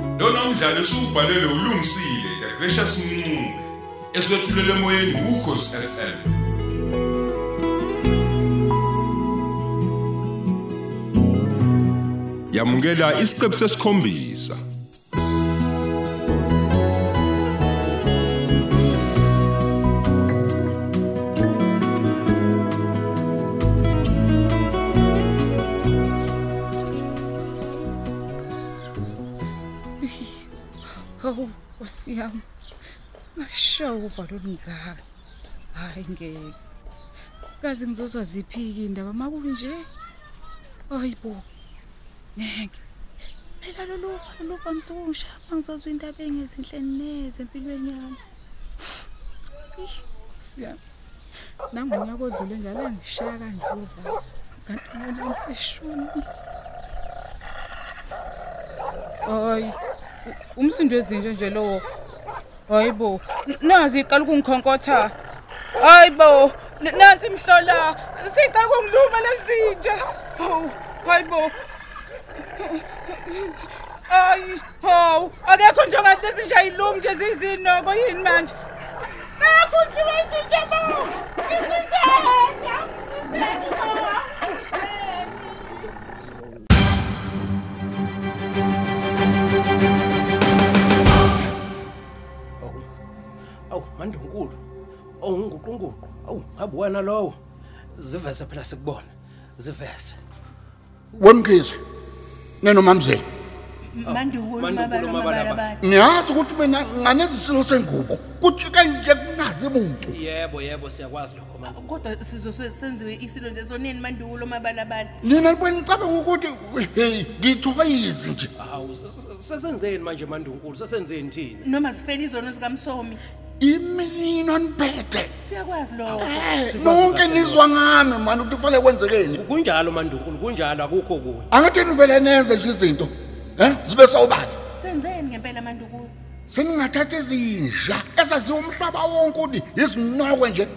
umdlalo esubhalelwe ulungisile the gracious mncube eswetshulelwe emoyeni ukhosi FM yamukela isiqebu sesikhombisa hawu nkosi yami ngashawa uvalo olungaka hhayi ngeke kazi ngizozwa ziphi-ke indaba ma kunje hayi bo ngeke phela lolu uvalo luvamise ukungishapha ngizozwa indaba engezinhle neze empilweni yami Ih, nkosi yami nangonyaka odlule njalo angishaya kanje uvalo kanti ngona ngiseshonile hayi u- umsindo ezinje nje lowo hayi bo N- nazi iqala ukungikhonkotha hayi bo N- nansi mhlola siqala ukungiluma lezinje hawu hayi bo hayi hawu akekho nje ongathi lezinje ayilumi nje zizinoko yini manje akuthiwa izinje bo awu awu mandonkulu awunguqunguqu awu ngabe wena lowo ziveze phela sikubona ziveze wemkhize nenomamzela mandunkulu Mandunkulu mabalabala. mabalabalabala niyazi ukuthi mina nganezisilo sengubo kujike nje kungazi muntu yebo yebo siyakwazi lokho manje kodwa sizose senziwe isilo nje sonini mandunkulu mabalabala nina libe nicabanga ukuthi heyi ngithobe yizi nje hawu s- s- sesenzeni manje mandonkulu sesenzeni thina noma zifele izono zikamsomi imino nibhede siyakwazi lokho Eh, Sikwazi nonke kahle nizwa ngami mani ukuthi kufanele kwenzekeni kunjalo mandonkulu kunjalo akukho kunye angithi nivele nenze nje izinto um zibe sawubani senzeni ngempela mandunkulu seningathatha ezinja ezaziwa umhlaba wonke ukuthi izinokwe nje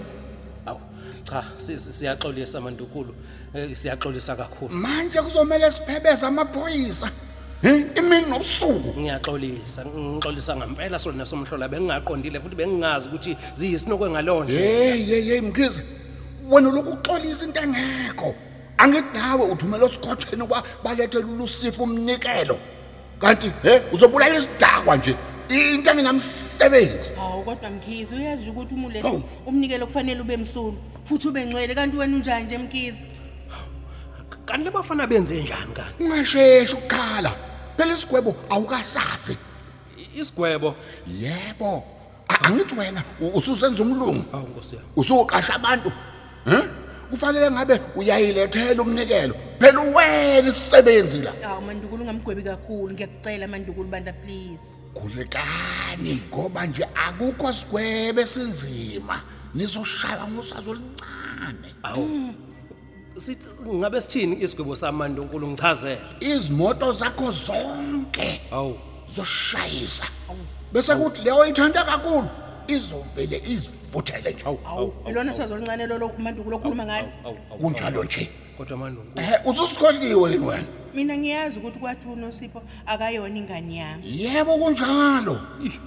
awu cha si- si- siyaxolisa mandonkulu Eh, siyaxolisa kakhulu manje kuzomele siphebeze amaphoyisa um imini nobusuku ngiyaxolisa ngixolisa ngempela sona somhlola bengingaqondile futhi bengingazi ukuthi ziyisinokwe ngalowo nje yeyi yeyi yeyi mkhize wena lokhu uxolisa into engekho angithi nawe uthumele esikhotheni ukuba balethele ulusipho umnikelo kanti he uzobulala isidakwa nje into engenamsebenzi hawu kodwa mkhizi uyazi nje ukuthi umule Hawu. umnikelo kufanele ube msulu futhi ube ngcwele kanti wena unjani nje mkhizi kanti labafana benze njani kanti ungasheshi ukukhala phela isigwebo awukasazi isigwebo yebo A- angithi wena u- ususenza umlungu awu nkosi yami usuqasha abantu um kufanele ngabe uyayilethela umnikelo phela uwena isisebenzi la hawu mandunkulu ungamgwebi kakhulu ngiyakucela mandunkulu bandla please khulekani ngoba nje akukho sigwebe esinzima nizoshaya ngosazi oluncane sithi ngabe sithini isigwebo samandunkulu ngichazele izimoto zakho zonke awu zoshayisa bese kuthi leyo oyithanda kakhulu izovele izivuthele nje awu ilona swazi oluncane lolo mandunkulu okhuluma ngalo kunjalo nje kodwa mandunkulu um ususikhohliwe yini wena mina ngiyazi ukuthi kwathi unosipho akayona ingane yami yebo kunjalo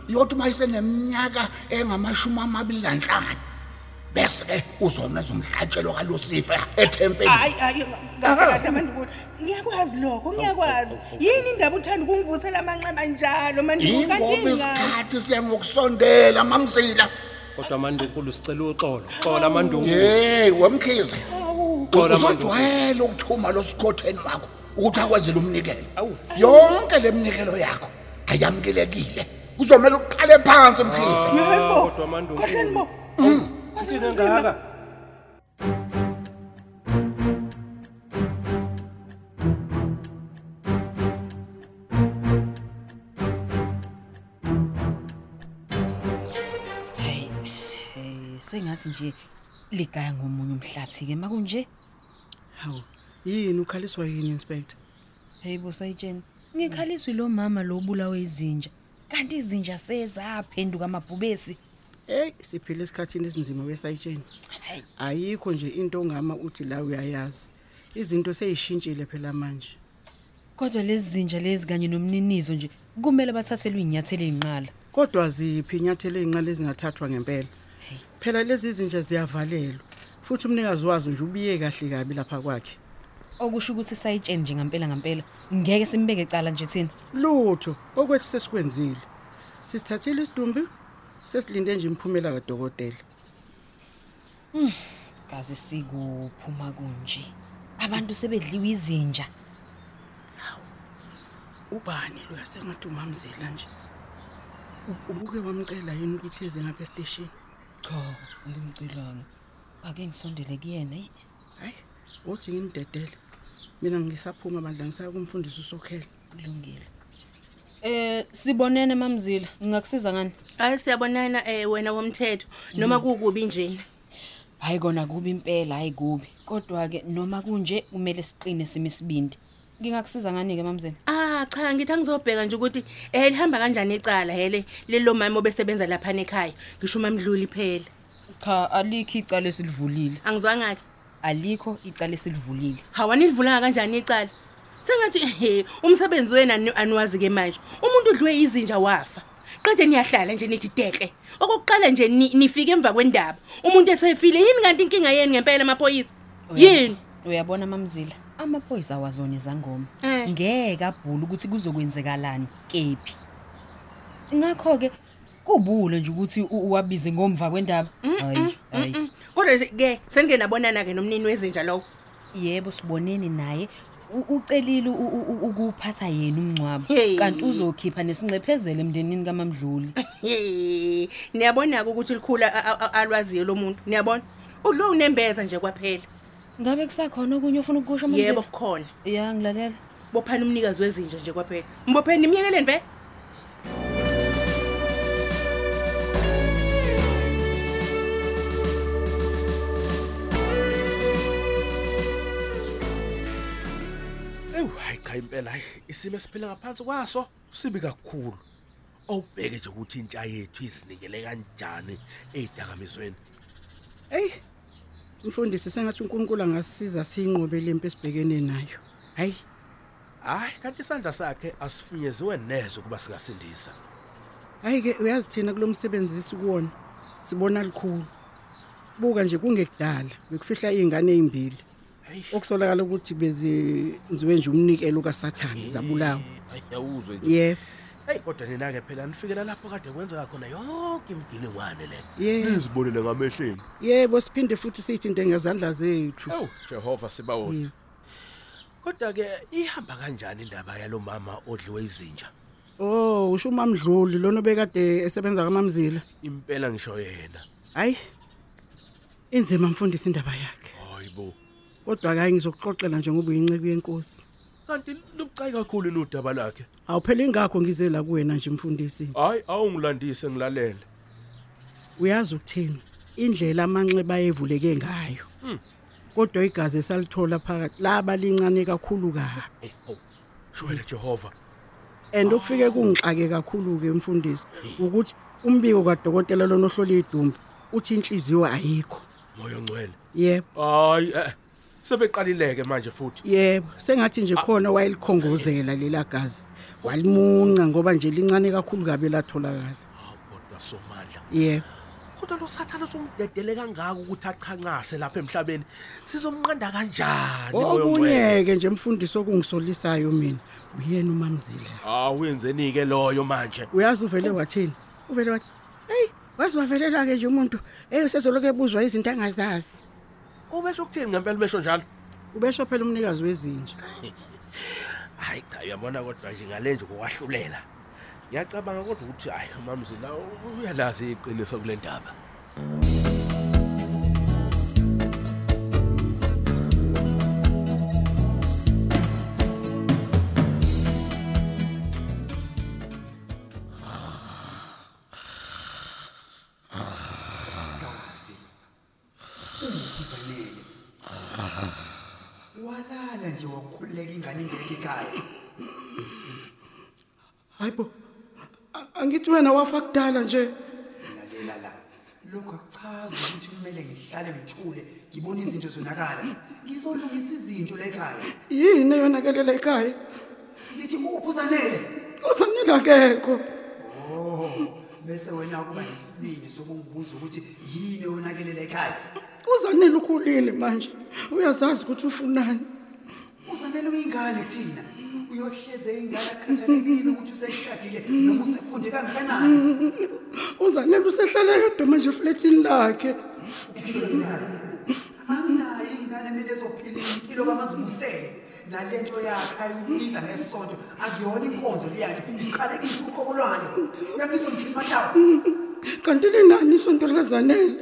yothi uma iseneminyaka engamashumi amabili nanhlanu bese-ke uzomenza umhlatshelo kalosifa ethempelini hayi hayi kahle kahle mandunkulu ngiyakwazi lokho ngiyakwazi yini indaba uthanda ukungivuthela amanqeba njalo mandunkulu kanti yingoba yini ngayo isikhathi siyangokusondela mamzila kodwa mandunkulu sicela uxolo xola mandunkulu yeyi wemkhize Hawu. Xola usojwayele ukuthuma losikhotheni wakho ukuthi akwenzele umnikelo Awu. yonke le mnikelo yakho ayamukelekile kuzomele uqale phansi mkhize Yebo. kodwa mandunkulu. Kahleni bo Kwaze Uthini kunzima. engaka hayi um sengathi nje ligaya ngomunye umhlathi-ke makunje hawu yini ukhaliswa yini inspector heyi bosayitsheni ngikhaliswe lo mama lo obulawe izinja kanti izinja sezaphenduka amabhubesi eyi siphile esikhathini esinzima besayitsheni ayikho nje into ongama uthi la uyayazi izinto seyishintshile phela manje kodwa lezi zinja lezi kanye nomninizo nje kumele bathathelwe iy'nyathelo ey'nqala kodwa ziphi inyathelo ey'nqala ezingathathwa ngempela phela lezi zinja ziyavalelwa futhi umnikazi wazo nje ubiye kahle kabi lapha kwakhe okusho ukuthi sayitsheni nje ngampela ngampela ngeke simbeke cala nje thina lutho okwethi sesikwenzile sisithathile isidumbu sesilinde nje imphumela kadokotela kaze sikuphuma kunje abantu sebedliwe izinja ubani loya sengathi umamzela nje U- ubuke wamcela yini ukuthi eze ngapha esiteshini cha ngimcilanga ake ngisondele kuyena eyi hayi uthi ngimdedele mina ngisaphuma bandla ngisaya kumfundisi usokhela kulungile um sibonene mamzila ngingakusiza ngani hhayi siyabonana um wena womthetho noma kukubi njena hhayi kona kubi impela hhayi kubi kodwa-ke noma kunje kumele siqine sime isibindi ngingakusiza ngani-ke mamzela ah cha ngithi angizobheka nje ukuthi um lihamba kanjani icala hele lelo mama obesebenza laphana ekhaya ngisho umamdluli phela cha alikho icala esilivulile angizwanga-ke alikho icala esilivulile hawanilivulanga kanjani icala sengathi ehe umsebenzi wena ani- aniwazi-ke manje umuntu udliwe izinja wafa qede niyahlala nje nithi dekle okokuqala nje ni- nifike emva kwendaba umuntu esefile yini kanti inkinga yeni ngempela amaphoyisa yini uyabona mamzila amaphoyisa awazona izangoma Eh. ngeke abhule ukuthi kuzokwenzekalani kephi ngakho-ke kubule nje ukuthi u- uwabize ngomva kwendaba hayi hayi Mm, kodwa nje ke sengenabonana-ke nomnini wezinja lowo yebo siboneni naye U- ucelile u- u- u- ukuphatha yena umngcwabo Hey. kanti uzokhipha nesinxephezelo emndenini kamamdluli ye niyabona-ke ukuthi likhula a- a- a- alwaziyo lo muntu niyabona udlo unembeza nje kwaphela ngabe kusakhona okunye ofuna ukukusho Mamzila? yebo kukhona ya ngilalela bophana umnikazi wezinja nje kwaphela mbopheni nimyekeleni vele ewu hayi cha impela hayi isimo esiphila ngaphansi kwaso sibi kakhulu awubheke nje ukuthi intsha yethu izinikele kanjani ey'dakamizweni eyi mfundisi sengathi unkulunkulu angasisiza siyinqobe le mpi esibhekene nayo hhayi hhayi kanti isandla sakhe asifinyeziwe nezo ukuba singasindisa hhayi-ke uyazi thina kulo msebenzisi kuwona sibona likhulu buka nje kungekudala bekufihla iy'ngane ey'mbili Hayi. okusolakala ukuthi bezenziwe nje umnikelo kasathane zabulawa hayi awuzwe nje yebo eyi kodwa nina-ke phela nifikela lapho kade kwenzeka khona yonke imgilingwane le yebo nizibonele ngamehleni yebo siphinde futhi siyithinte ngezandla zethu ewu jehova siba Yebo. wodwa kodwa-ke ihamba kanjani indaba yalo mama odliwe izinja oh usho umamdluli lona obekade esebenza kwamamzila impela ngisho yena hhayi inzima mfundisi indaba yakhe hayi bo kodwa-ke hhayi ngizokuxoxela njengoba uyinceku yenkosi kanti lubucayi kakhulu ini udaba lakhe awuphela ingakho ngize la kuwena nje mfundisi hayi awungilandise ngilalele uyazi ukuthini indlela amanxeba ayevuleke ngayo Hmm. kodwa igazi esalithola phakathi laba lincane kakhulu kabi shwele jehova and okufike kungixake kakhulu-ke mfundisi ukuthi umbiko kadokotela lona ohlola idumbu uthi inhliziyo ayikho moya ongcwele yebo hayi eh sebeqalileke manje futhi Ah. yebo sengathi nje khona wayelikhongozela lela gazi walimunca ngoba nje lincane kakhulu kabi latholakala hawu kodwa somandla yebo kodwa lo sathane somdedele kangaka ukuthi achanqase lapha emhlabeni sizomnqanda kanjani moya ongcwele okunye-ke nje mfundisi okungisolisayo mina uyena umamzila hawu yenzeni-ke loyo manje uyazi uvele wathini uvele wathi eyi wazi wavelela-ke nje umuntu eyi usezoloku ebuzwa izinto angazazi ubesho Oh, ukuthini ngempela umesho njalo ubesho phela umnikazi wezinja hayi cha uyabona kodwa nje ngale nje kokwahlulela ngiyacabanga kodwa ukuthi hhayi umamzila uyalazi iqiniso kule ndaba uzalele walala nje wakhululeka ingane ingeke ekhaya hayi bo a- angithi wena wafa kudala nje lalela la lokhu akuchazi ukuthi kumele ngihlale ngithule ngibone izinto zonakala ngizolungisa izinto lekhaya yini eyonakelela ekhaya nithi kuphi uzanele uzanele akekho Oh, bese wena kuba nesibindi sokungibuza ukuthi yini onakelela ekhaya uzanele ukhulile manje uyazazi ukuthi ufunani uzanele uyingane kuthina uyohleze ingane akhathalekile ukuthi useshadile noma usefunde kangakanani uzanele usehlale yedwa manje efletini lakhe anginayo ingane mina ezophila impilo kamazibusele nale nto yakhe ayibiza ngesonto akuyona inkonzo leyakhe isiqalekise uqobo lwayo uyakizwa mthini matawu kanti linani isonto likazanele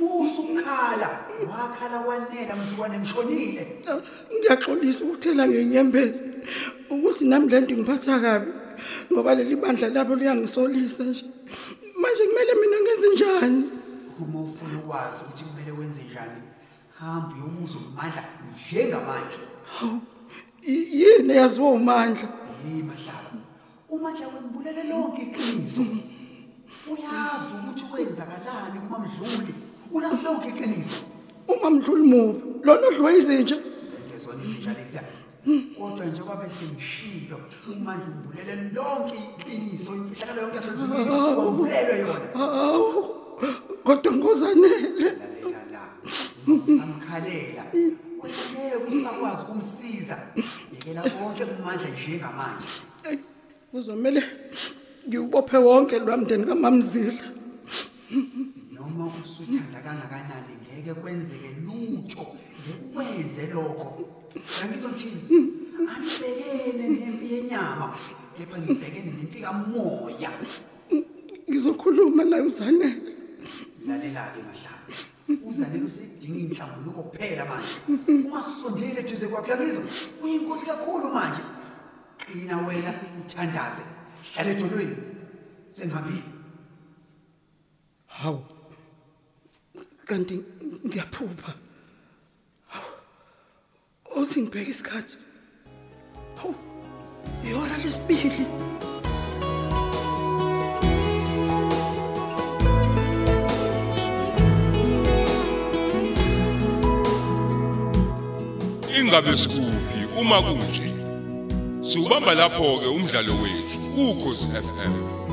ubusa ukukhala wakhala wanela mzukwane ngishonile Ah, ngiyaxolisa ukuthela ngenyembezi ukuthi nami le nto ngiphatha kabi ngoba leli bandla labo liyangisolisa nje manje kumele mina ngenze njani uma ufuna ukwazi ukuthi kumele wenze njani hambe uyomuza umandla njengamanje hawu i- yini eyaziwa umandla yimahlaba umandla wembulele lonke iqiniso uyazi ukuthi wenzakalani kumamdluli ulazi lonke iqiniso uma mdluli mubi lona odliwa izinja ngezona izinja lezi kodwa njengoba besengishilo umandla umbulele lonke iqiniso imfihlakalo yonke esezulwini wambulelwe yona hawu kodwa ngozanele lalela la samkhalela ngeke usakwazi ukumsiza yekela konke kumandla njengamanje Eyi, kuzomele ngiwubophe wonke lwamndeni kamamzila noma usuthanda kangakanani ngeke kwenzeke lutho ngekwenze lokho angizothini anibhekene nempi yenyama kepha nibhekene nempi kamoya ngizokhuluma naye uzanele lalela-ke mahlaba uzanele usedinga inhlambuluko kuphela manje ungasondeli eduze kwakhe yakizo uyinkosi kakhulu manje qina wena uthandaze hlala edolweni sengihambile hawu kanti ngiyaphupha hawu othi ngibheke isikhathi hawu ihora lesibili ingabe sikuphi uma kunje siubamba lapho-ke umdlalo wethu ukhozi fm